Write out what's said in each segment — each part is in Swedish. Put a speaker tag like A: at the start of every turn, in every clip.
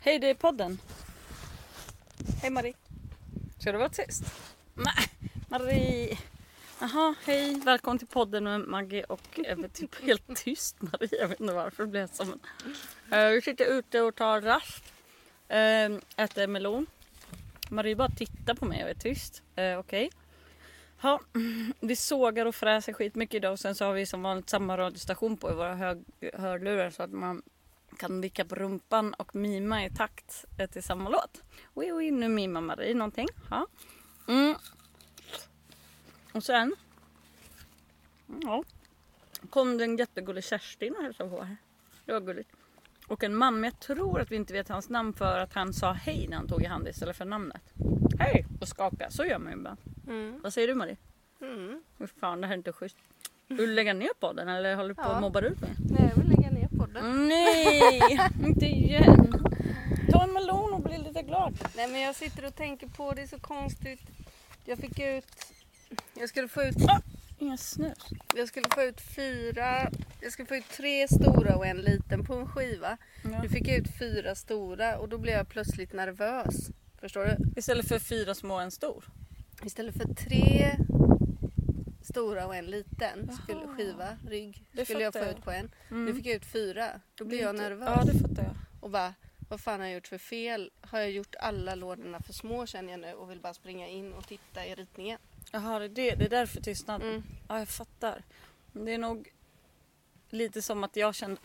A: Hej, det är podden. Hej Marie. Ska du vara tyst? Nej, Marie. Jaha, hej. Välkommen till podden med Maggie och Ebbe. Typ helt tyst Marie. Jag vet inte varför det blev så. Men... Eh, vi sitter ute och tar rast. Uh, äter melon. Marie bara tittar på mig och är tyst. Uh, Okej. Ja, vi sågar och fräser skitmycket idag och sen så har vi som vanligt samma radiostation på i våra hög- hörlurar så att man kan vicka på rumpan och mima i takt eh, till samma låt. Oj, oj, nu mimar Marie någonting. Ja. Mm. Och sen mm, ja, kom den jättegullig Kerstin och hälsade på här. Det var gulligt. Och en man, men jag tror att vi inte vet hans namn för att han sa hej när han tog i hand istället för namnet. Hej! Och skaka, så gör man ju ibland.
B: Mm.
A: Vad säger du Marie?
B: Mm.
A: Fy fan, det här är inte schysst. Vill du lägga ner podden eller håller du på
B: Ja.
A: och mobbar ut mig?
B: Nej, jag vill lägga ner podden.
A: Mm. Nej, inte igen. Ta en melon och bli lite glad.
B: Nej, men jag sitter och tänker på det är så konstigt. Jag fick ut... Jag skulle få ut,
A: Ingen snus.
B: jag skulle få ut fyra... Jag skulle få ut tre stora och en liten på en skiva.
A: Ja.
B: Nu fick jag ut fyra stora och då blev jag plötsligt nervös. Förstår du?
A: Istället för fyra små och en stor.
B: Istället för tre stora och en liten skulle
A: Jaha.
B: skiva, rygg,
A: Det
B: skulle jag få
A: fattar jag.
B: ut på en.
A: Mm.
B: Nu fick jag ut fyra. Då blev jag nervös.
A: Ja, det fattar jag.
B: och bara vad fan har jag gjort för fel? Har jag gjort alla lådorna för små känner jag nu och vill bara springa in och titta i ritningen.
A: Jaha, det är, det. Det är därför tystnaden.
B: Mm.
A: Ja, jag fattar. Men Det är nog lite som att jag kände...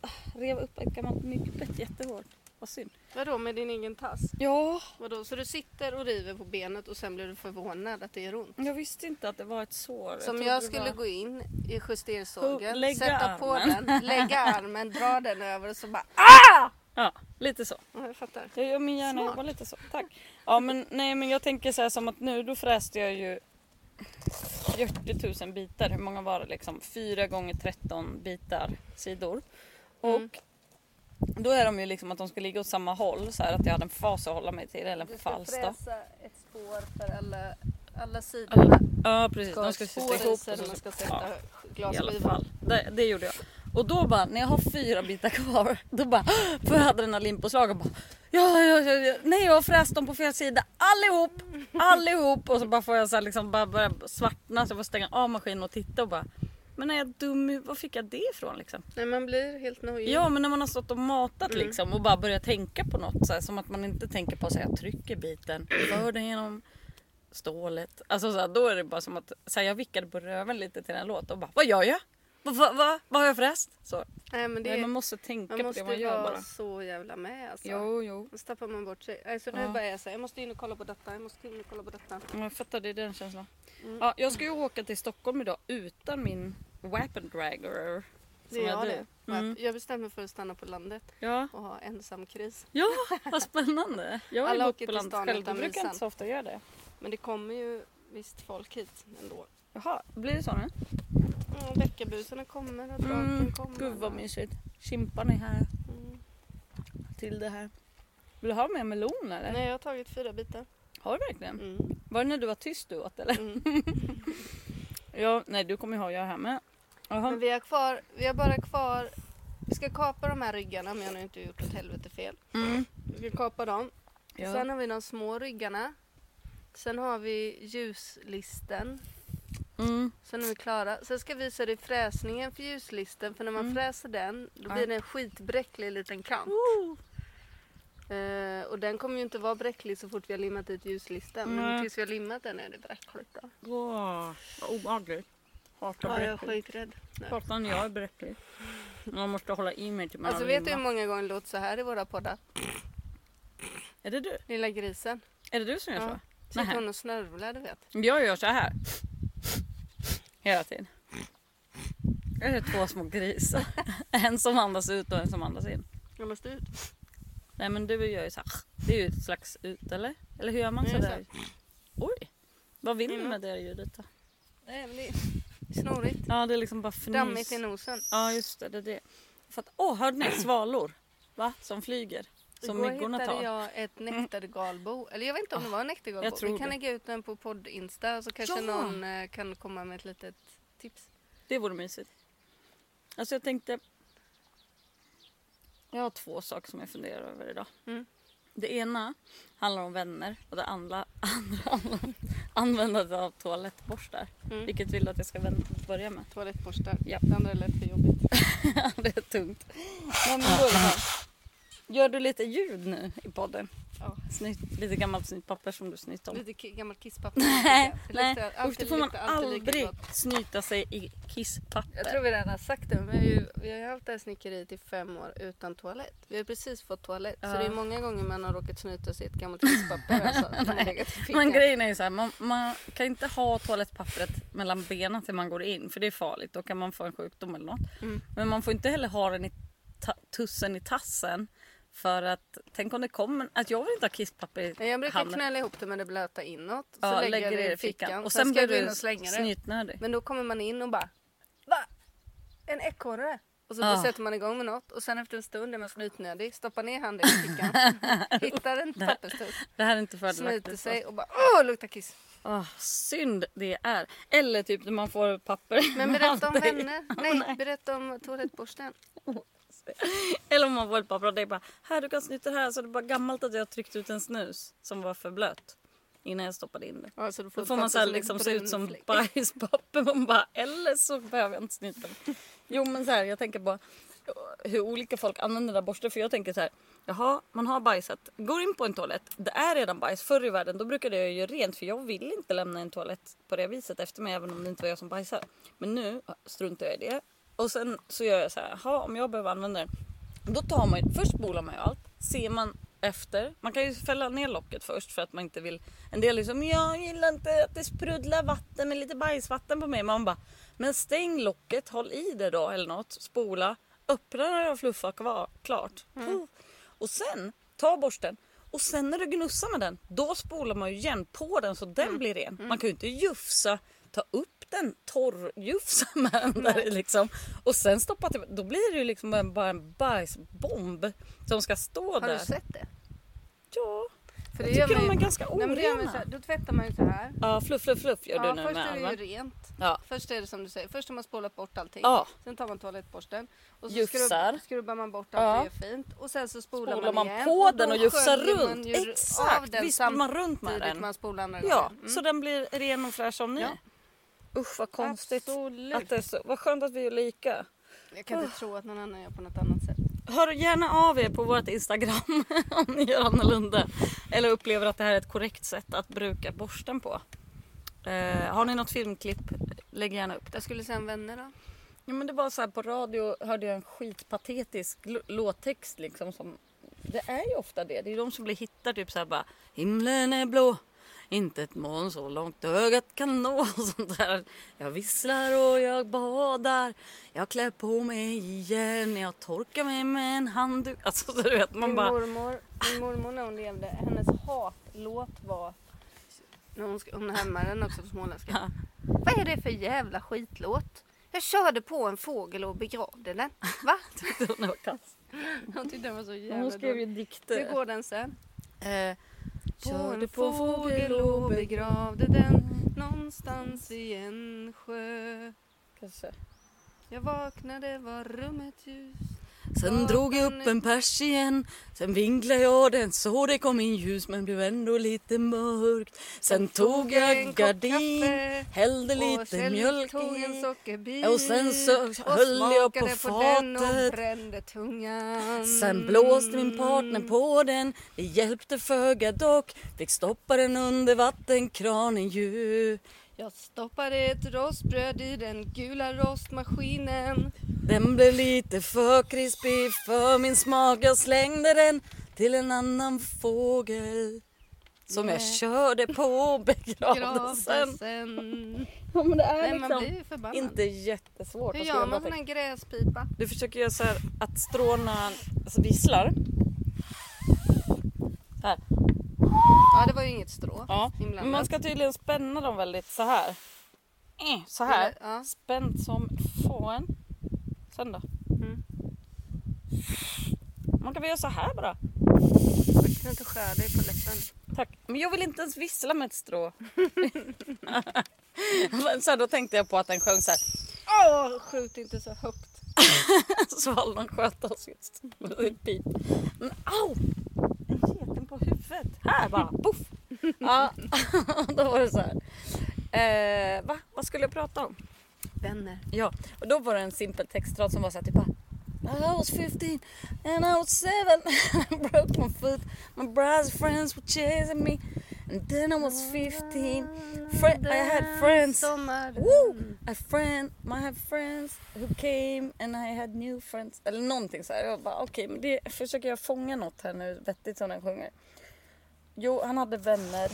A: Ah! Rev upp ett gammalt myggbett jättehårt. Vad synd.
B: Vadå med din egen tass?
A: Ja,
B: Vadå, så du sitter och river på benet och sen blir du förvånad att det gör ont?
A: jag visste inte att det var ett sår.
B: Som
A: trodde
B: jag
A: det
B: skulle
A: var-
B: gå in i justersågen,
A: Lägga
B: sätta på
A: armen.
B: den, lägga armen, dra den över och så bara ah!
A: Ja, lite så.
B: Ja, jag fattar.
A: Jag gör min hjärna
B: Smart.
A: jobbar lite så. Tack. Ja men nej men jag tänker så här som att nu då fräste jag ju 40 000 bitar. Hur många var det liksom? 4 gånger 13 bitar sidor. Och
B: Mm.
A: då är de ju liksom att de ska ligga åt samma håll så här att jag hade en fas att hålla mig till eller
B: Du
A: en
B: ska
A: fals då.
B: fräsa ett spår för alla, alla sidorna.
A: Alla- Ja precis, de ska
B: spår
A: sitta
B: i
A: ihop. och
B: sig,
A: så-
B: man ska
A: ja.
B: sätta
A: I alla
B: glasskivan.
A: fall. Det, det gjorde jag. Och då bara, när jag har fyra bitar kvar, då bara får jag adrenalinpåslag och bara ja, ja, ja, ja, nej jag har fräst dem på fel sida allihop, allihop och så bara får jag så här liksom bara börja svartna så jag får stänga av maskinen och titta och bara men är jag dum i- var fick jag det ifrån liksom?
B: Nej, man blir helt nojig.
A: Ja men när man har stått och matat
B: Mm.
A: liksom och bara börjat tänka på något så här, som att man inte tänker på att jag trycker biten, för den genom stålet. Alltså så här, då är det bara som att så här, jag vickade på röven lite till den här låten och bara vad gör jag? Vad va, va, vad har jag förresten? Så.
B: Nej, men det
A: Nej, man måste tänka
B: Man
A: på
B: måste
A: det
B: ju
A: man gör
B: vara
A: bara.
B: så jävla med alltså.
A: Jo jo.
B: Annars tappar man bort sig. Alltså nu
A: Ja.
B: bara är jag så här, jag måste in och kolla på detta, jag måste in och kolla på detta.
A: Men Jag fattar det är den känslan.
B: Mm.
A: Ja, jag ska ju åka till Stockholm idag utan min weapon dragger.
B: Det är jag det.
A: Mm.
B: Jag bestämde mig för att stanna på landet
A: Ja,
B: och ha ensamkris.
A: ja vad spännande. Jag har ju
B: Alla
A: bott
B: åker
A: på
B: till
A: landet
B: stan
A: själv.
B: utan
A: Jag brukar
B: visan.
A: inte så ofta göra det.
B: Men det kommer ju visst folk hit ändå.
A: Jaha, blir det så nu?
B: Mm, Bäckabusarna kommer och draken
A: Mm,
B: kommer.
A: Gud vad mysigt. Chimpan är här
B: Mm.
A: till det här. Vill du ha mer melon eller?
B: Nej jag har tagit fyra bitar.
A: Har du verkligen?
B: Mm.
A: Var det när du var tyst du åt eller?
B: Mm.
A: Ja, nej du kommer ju ha jag här med.
B: Men
A: Jaha.
B: vi har kvar, vi har bara kvar, vi ska kapa de här ryggarna om jag nu inte gjort åt helvete fel.
A: Mm.
B: Vi ska kapa dem.
A: Ja.
B: Sen har vi de små ryggarna. Sen har vi ljuslisten.
A: Mm.
B: Sen är vi klara. Sen ska jag visa dig fräsningen för ljuslisten. För när man
A: Mm.
B: fräser den då
A: Ja.
B: blir det en skitbräcklig liten kant. Eh, och den kommer ju inte vara bräcklig så fort vi har limmat dit ljuslisten. Men
A: Nej.
B: tills vi har limmat den är det bräckligt. Då.
A: Åh, vad obehagligt. Hatar
B: Ja, jag är
A: bräcklig.
B: skiträdd. nu.
A: Hatar när jag är bräcklig. Man måste hålla i mig till man
B: Alltså
A: har
B: vet du hur
A: limma.
B: många gånger det låter så här i våra poddar?
A: Är det du?
B: Lilla grisen.
A: Är det du som gör
B: Ja.
A: så?
B: Sitter
A: Nähä.
B: hon och snörvlar du vet.
A: Jag gör så här. Hela tiden. Jag är två små grisar. En som andas ut och en som andas in.
B: Jag måste ut.
A: Nej men du gör ju så här. Det är ju ett slags ut eller? Eller hur gör man
B: Nej,
A: så
B: det är
A: där? Oj! Vad vill du
B: Mm.
A: med det ljudet då?
B: Nej men det är snorigt.
A: Ja det är liksom bara fnys.
B: Dammigt i nosen.
A: Ja just det, det är det. För att, åh hörde ni svalor? Va? Som flyger. Som
B: Igår
A: myggorna
B: hittade
A: tar. Jag,
B: jag ett näktergalbo. Eller jag vet inte om det var en näktergalbo.
A: jag tror
B: Vi kan
A: det.
B: lägga ut den på podd-insta så
A: Ja!
B: kanske någon eh, kan komma med ett litet tips.
A: det vore mysigt. Alltså jag tänkte. Jag har två saker som jag funderar över idag.
B: Mm.
A: Det ena handlar om vänner och det andra, andra handlar om användandet av toalettborstar.
B: Mm.
A: Vilket vill du att jag ska vända, börja med?
B: Toalettborstar.
A: Ja.
B: Det andra är lätt för jobbigt.
A: det är tungt. Nej, men Gullan, gör du lite ljud nu i podden?
B: Ja.
A: Snytt, lite gammalt snytt papper som du snytt om.
B: Lite ki- gammalt kisspapper.
A: Nej,
B: Lite-
A: nej.
B: alltid
A: Usch, det får man
B: lite, alltid lika
A: aldrig
B: gott.
A: snyta sig i kisspapper.
B: Jag tror vi redan har sagt det, men vi har ju, vi har ju haft det här snickeriet i fem år utan toalett. Vi har precis fått toalett, så
A: Ja.
B: det är många gånger man har råkat snyta sig i ett gammalt kisspapper. Alltså, som har legat i
A: Men
B: fickan.
A: grejen är ju så här, man, man kan inte ha toalettpappret mellan benen till man går in för det är farligt. Då kan man få en sjukdom eller något.
B: Mm.
A: Men man får inte heller ha den i ta- tussen i tassen. För att tänk om det kommer, att jag vill inte ha kisspapper i
B: Men jag brukar
A: handen.
B: knälla ihop det med det blöta inåt. Så
A: Ja,
B: lägger jag det i fickan.
A: Och sen
B: ska
A: blir
B: jag gå in
A: du
B: och slänga det.
A: snytnödig.
B: Men då kommer man in och bara Va? En ekorre? Och så
A: Ja.
B: sätter man igång med något och sen efter en stund är man snytnödig, stoppar ner handen i fickan, hittar en papperstuss,
A: Det här är inte
B: snyter
A: fördelaktigt.
B: sig och bara åh, luktar kiss.
A: Åh, synd det är. Eller typ när man får papper.
B: Men
A: med
B: berätta om
A: dig.
B: vänner. Nej, berätta om toalettborsten.
A: Eller om man får ett papper och det är bara här du kan snyta här. Så det är bara gammalt att jag tryckt ut en snus som var för blöt. Innan jag stoppade in det.
B: Ja, så du
A: Då får man så här, liksom se ut som bajspapper. Man bara, eller så behöver jag inte snyta mig. Jo men så här, jag tänker bara hur olika folk använder den där borsten. För jag tänker så här, jaha man har bajsat, går in på en toalett, det är redan bajs. Förr i världen då brukade jag ju rent för jag vill inte lämna en toalett på det viset efter mig även om det inte var jag som bajsade. Men nu struntar jag i det. Och sen så gör jag så här, jaha om jag behöver använda den. Då tar man ju, först spolar man ju allt, ser man efter. Man kan ju fälla ner locket först för att man inte vill. En del är som, jag gillar inte att det sprudlar vatten med lite bajsvatten på mig. Man bara, men stäng locket, håll i det då eller något, spola, öppna när du har fluffat kvar, klart. Puh. Och sen, ta borsten. Och sen när du gnussar med den, då spolar man ju igen på den så den
B: Mm.
A: blir ren. Man kan ju inte jufsa, ta upp den, torrjufsa med den där i liksom. Och sen stoppa tillbaka. Då blir det ju liksom en- bara en bajsbomb som ska stå
B: Har
A: där.
B: du sett det?
A: Ja.
B: För
A: jag
B: det gör
A: tycker de
B: man
A: är
B: ju-
A: ganska
B: Nej, men det gör man ju
A: orena.
B: så här, då tvättar man ju så här.
A: Ja, fluff, fluff, fluff gör
B: ja,
A: du nu
B: först
A: med
B: är det
A: den,
B: ju
A: va?
B: rent.
A: Ja.
B: Först är det som du säger, först har man spolat bort allting.
A: Ja.
B: Sen tar man toalettborsten och så
A: Jufsar.
B: skrubb, skrubbar man bort
A: Ja.
B: allt det är fint. Och sen så spolar,
A: Spolar man
B: igen.
A: på den
B: då
A: och jufsar
B: sköljer man
A: runt.
B: ju av
A: Exakt,
B: den
A: visst spolar man runt med
B: samtidigt
A: den.
B: man spolar andra
A: Ja,
B: gången.
A: så den blir ren och fräsch som ny.
B: mm. Ja.
A: Usch vad konstigt.
B: Absolut.
A: Att det är så. Vad skönt att vi är lika.
B: Jag kan inte tro att någon annan gör på något annat sätt.
A: Hör gärna av er på vårt Instagram om ni gör annorlunda. Eller upplever att det här är ett korrekt sätt att bruka borsten på. Eh, har ni något filmklipp, lägg gärna upp det.
B: Jag skulle säga en vänner då.
A: Ja, men det var så här, på radio hörde jag en skitpatetisk l- låttext liksom. Som, det är ju ofta det. Det är ju de som blir hittade typ så här bara. Himlen är blå, inte ett moln så långt ögat kan nå. Och sånt där. Jag visslar och jag badar. Jag klär på mig igen. Jag torkar mig med en handduk. Alltså så du vet man
B: min,
A: bara.
B: mormor, min mormor när hon levde, hennes hatlåt var... När hon, sk- hon härmade den också på småländska. Vad är det för jävla skitlåt? Jag körde på en fågel och begravde den. Va?
A: Den var kass.
B: Hon tyckte den var så
A: Hon
B: jävla
A: skrev ju
B: dålig. Hur
A: dikter.
B: går den sen?
A: Eh,
B: Körde på en fågel och begravde den någonstans i en sjö.
A: Kanske.
B: Jag vaknade, var rummet ljust.
A: Sen
B: Ja,
A: drog jag upp
B: men-
A: en pers igen Sen vinglade jag den så det kom in ljus men blev ändå lite mörkt Sen tog jag en
B: kopp
A: gardin
B: kaffe.
A: Hällde
B: Och
A: lite
B: sen
A: mjölk
B: tog en
A: i
B: sockerbit
A: Och sen så
B: och
A: höll jag på
B: smakade den
A: fatet.
B: och brände tungan.
A: Sen blåste min partner
B: Mm.
A: på den Det hjälpte föga dock Fick stoppa den under vattenkranen ju
B: Jag stoppade ett rostbröd i den gula rostmaskinen.
A: Den blev lite för krispig för min smak Jag slängde den till en annan fågel Som jag
B: Nej.
A: körde på
B: Gravde
A: begravde sen
B: sen.
A: Ja, men det är
B: Nej, man
A: liksom
B: blir ju förbannad.
A: inte jättesvårt.
B: Hur
A: att skriva
B: gör man
A: bara
B: sån
A: text.
B: här gräspipa?
A: Du försöker göra så här att stråna alltså visslar. Så här.
B: Ja, det var ju inget strå
A: Ja.
B: inblandat.
A: Men man ska tydligen spänna dem väldigt så här. Eh, Så här.
B: Eller- ja.
A: Spänt som fån. Sen då?
B: Mm.
A: Man kan väl göra så här bara.
B: Jag kan inte skära dig på läppen.
A: Tack. Men jag vill inte ens vissla med ett strå. Men så här, då tänkte jag på att den sjöng så här.
B: Åh, skjut inte så högt.
A: Svalden sköt oss just. Det är pip. Men au! En geten på huvudet. Här bara, poff! Ja, då var det så här. Eh, va? Vad skulle jag prata om?
B: Vänner.
A: Ja, och då var det en simpel textrad som var så här typ bara I was 15 and I was 7 I broke my foot My brother's friends were chasing me And then I was 15 Fri- I had friends.
B: Sommar. Mm.
A: Woo! A friend, I had friends who came and I had new friends. Eller någonting så här. Jag bara okej, men det försöker jag fånga något här nu vettigt som den sjunger. Jo, han hade vänner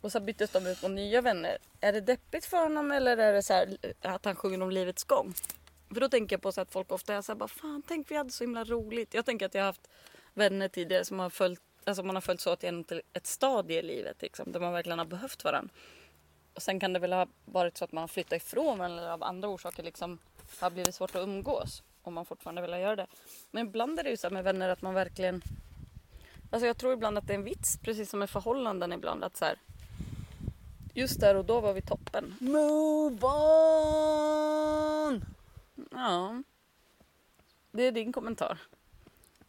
A: och så byttes de ut mot nya vänner. Är det deppigt för honom eller är det så här eh, att han sjunger om livets gång? För då tänker jag på så att folk ofta är så här bara fan tänk vi hade så himla roligt. Jag tänker att jag har haft vänner tidigare som har följt, alltså man har följt så att genom till ett stadie i livet liksom, där man verkligen har behövt varandra. Och sen kan det väl ha varit så att man har flyttat ifrån varandra eller av andra orsaker liksom har blivit svårt att umgås om man fortfarande vill göra det. Men ibland är det ju så här med vänner att man verkligen... Alltså jag tror ibland att det är en vits, precis som med förhållanden ibland, att så här... Just där och då var vi toppen.
B: Move on!
A: Ja. Det är din kommentar.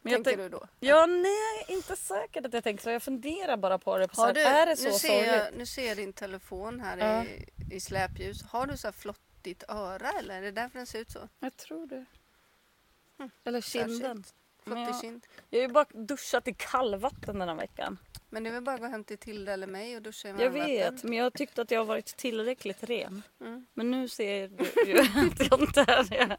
A: Men jag
B: Tänker
A: tänk-
B: du då?
A: Ja, nej, inte säkert att jag tänker så. Jag funderar bara på det. På så
B: Har
A: här,
B: du,
A: är det så
B: nu, ser
A: sorgligt?
B: jag, nu ser jag din telefon här
A: Ja.
B: i, i släpljus. Har du så här flottigt öra eller är det därför den ser ut så?
A: Jag tror det. Eller kinden.
B: Hm. Särskilt.
A: Men
B: Flottig
A: jag-
B: kind.
A: Jag har ju bara duschat i kallvatten den här veckan.
B: Men det är väl bara att gå hem till Tilda eller mig och duscha i
A: Jag
B: varmvatten.
A: vet, men jag tyckte att jag har varit tillräckligt ren.
B: Mm.
A: Men nu ser du ju att jag inte är det.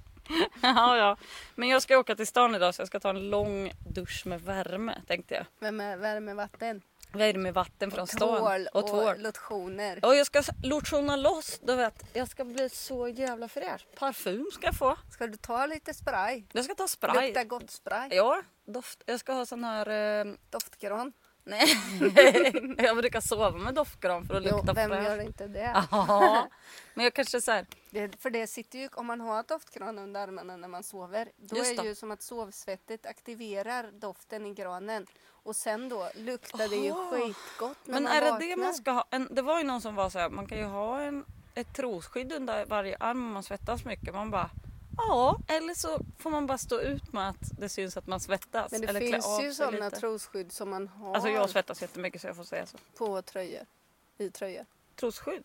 A: Ja, ja. Men jag ska åka till stan idag så jag ska ta en lång dusch med värme tänkte jag.
B: Vem är värmevatten?
A: Värme vatten från
B: Tvål
A: stan.
B: och,
A: Och tvål.
B: lotioner.
A: Och jag ska lotiona loss, du vet. Jag ska bli så jävla fräsch. Parfym ska jag få.
B: Ska du ta lite spray?
A: Jag ska ta spray.
B: Lukta gott spray.
A: Ja, doft. Jag ska ha sån här... Eh...
B: Doftkran.
A: Nej, jag brukar sova med doftgran för att
B: Jo,
A: lukta
B: vem
A: fräsch.
B: gör inte det?
A: Ah. Ja, men jag kanske så här...
B: det? För det sitter ju, om man har doftkran under armarna när man sover, då
A: Just
B: är
A: det.
B: det ju som att sovsvettet aktiverar doften i granen. Och sen då luktar det ju
A: Aha.
B: skitgott när
A: Men
B: man
A: är det
B: vaknar.
A: det man ska ha? En, det var ju någon som var så här, man kan ju ha en, ett trosskydd under varje arm om man svettas mycket. Man bara, ja, eller så får man bara stå ut med att det syns att man svettas.
B: Men det
A: eller klä av
B: finns
A: sig
B: ju sådana
A: lite.
B: trosskydd som man har
A: Alltså jag svettas jättemycket så jag får säga så.
B: på tröjor. I tröjor.
A: Trosskydd?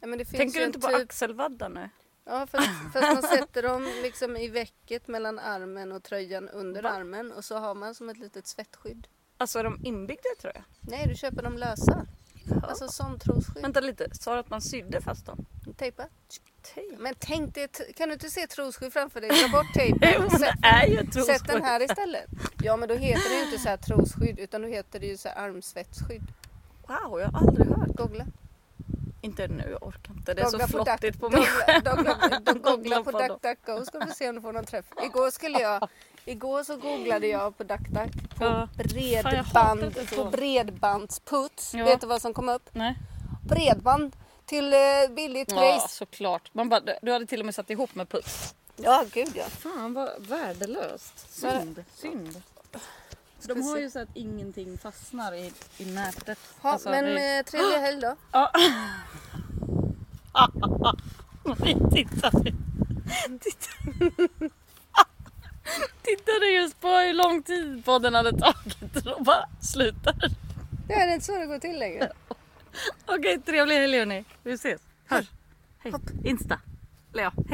B: Ja, men det finns
A: Tänker du
B: ju en
A: inte på
B: typ...
A: axelvaddar nu?
B: Ja, fast, fast man sätter dem liksom i vecket mellan armen och tröjan under
A: Va?
B: armen och så har man som ett litet svettskydd.
A: Alltså är de inbyggda tror jag?
B: Nej, du köper dem lösa. Alltså som trosskydd.
A: Vänta lite, sa du att man sydde fast dem?
B: Tejpa.
A: Tejp?
B: Men tänk dig, t- kan du inte se trosskydd framför dig? Ta bort
A: Jo
B: tejpen.
A: men det är ju ett
B: Sätt Mm. den
A: trosskydd.
B: här istället. Ja, men då heter det ju inte så här trosskydd utan då heter det ju så här armsvetsskydd.
A: Wow, jag har aldrig hört.
B: Googla.
A: Inte nu, jag orkar inte. Det är
B: Googla
A: så
B: på Duck-
A: flottigt på mig
B: Googla- Googla, då googla på DuckDuckGo ska vi se om du får någon träff. Igår skulle jag, igår så googlade jag på DuckDuck
A: Ja.
B: på
A: Fan, jag hatar
B: bredband,
A: det så.
B: på bredbandsputs.
A: Ja.
B: Vet du vad som kom upp?
A: Nej.
B: Bredband till eh, billigt
A: Ja,
B: pris.
A: såklart. Man bara, du hade till och med satt ihop med puss.
B: Ja, gud ja.
A: Fan vad värdelöst. Synd. Synd. För de har ju så att ingenting fastnar i, i nätet.
B: Ha,
A: Alltså,
B: men
A: det-
B: eh, trevlig helg då.
A: Nej, titta nu. Titta. Tittade just på hur lång tid podden hade tagit och då bara slutar.
B: Det är inte så det går till längre.
A: Okej, trevlig helg hörni. Vi ses. Hörs. Hej. Insta. Eller ja, hej.